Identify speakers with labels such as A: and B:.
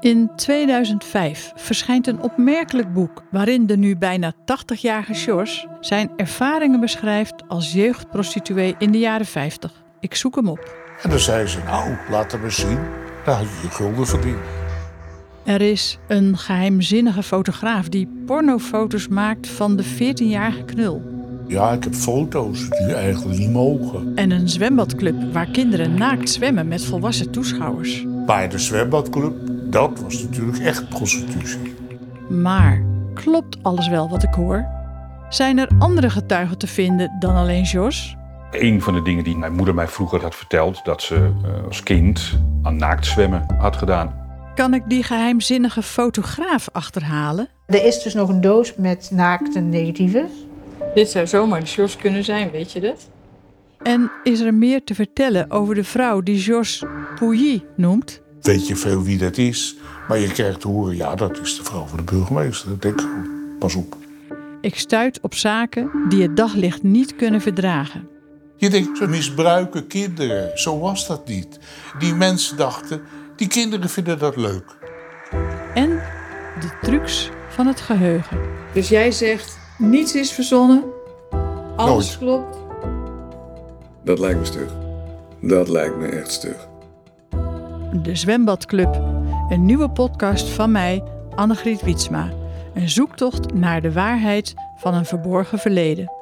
A: In 2005 verschijnt een opmerkelijk boek waarin de nu bijna 80-jarige George zijn ervaringen beschrijft als jeugdprostituee in de jaren 50. Ik zoek hem op.
B: En dan zei ze, nou, laat hem eens zien. Daar had je je gulden verdiend.
A: Er is een geheimzinnige fotograaf die pornofoto's maakt van de 14-jarige knul.
B: Ja, ik heb foto's die eigenlijk niet mogen.
A: En een zwembadclub waar kinderen naakt zwemmen met volwassen toeschouwers.
B: Bij de zwembadclub, dat was natuurlijk echt prostitutie.
A: Maar klopt alles wel wat ik hoor? Zijn er andere getuigen te vinden dan alleen Jos?
C: Een van de dingen die mijn moeder mij vroeger had verteld, dat ze eh, als kind aan naakt zwemmen had gedaan.
A: Kan ik die geheimzinnige fotograaf achterhalen?
D: Er is dus nog een doos met naakte negatieven.
E: Dit zou zomaar de shorts kunnen zijn, weet je dat?
A: En is er meer te vertellen over de vrouw die Jos Pouilly noemt?
B: Weet je veel wie dat is? Maar je krijgt te horen, ja, dat is de vrouw van de burgemeester. Dat denk ik ook. Pas op.
A: Ik stuit op zaken die het daglicht niet kunnen verdragen.
B: Je denkt, ze misbruiken kinderen. Zo was dat niet. Die mensen dachten, die kinderen vinden dat leuk.
A: En de trucs van het geheugen.
E: Dus jij zegt, niets is verzonnen, alles
B: Nooit.
E: klopt.
F: Dat lijkt me stug. Dat lijkt me echt stug.
A: De Zwembadclub. Een nieuwe podcast van mij, Annegriet Wietsma. Een zoektocht naar de waarheid van een verborgen verleden.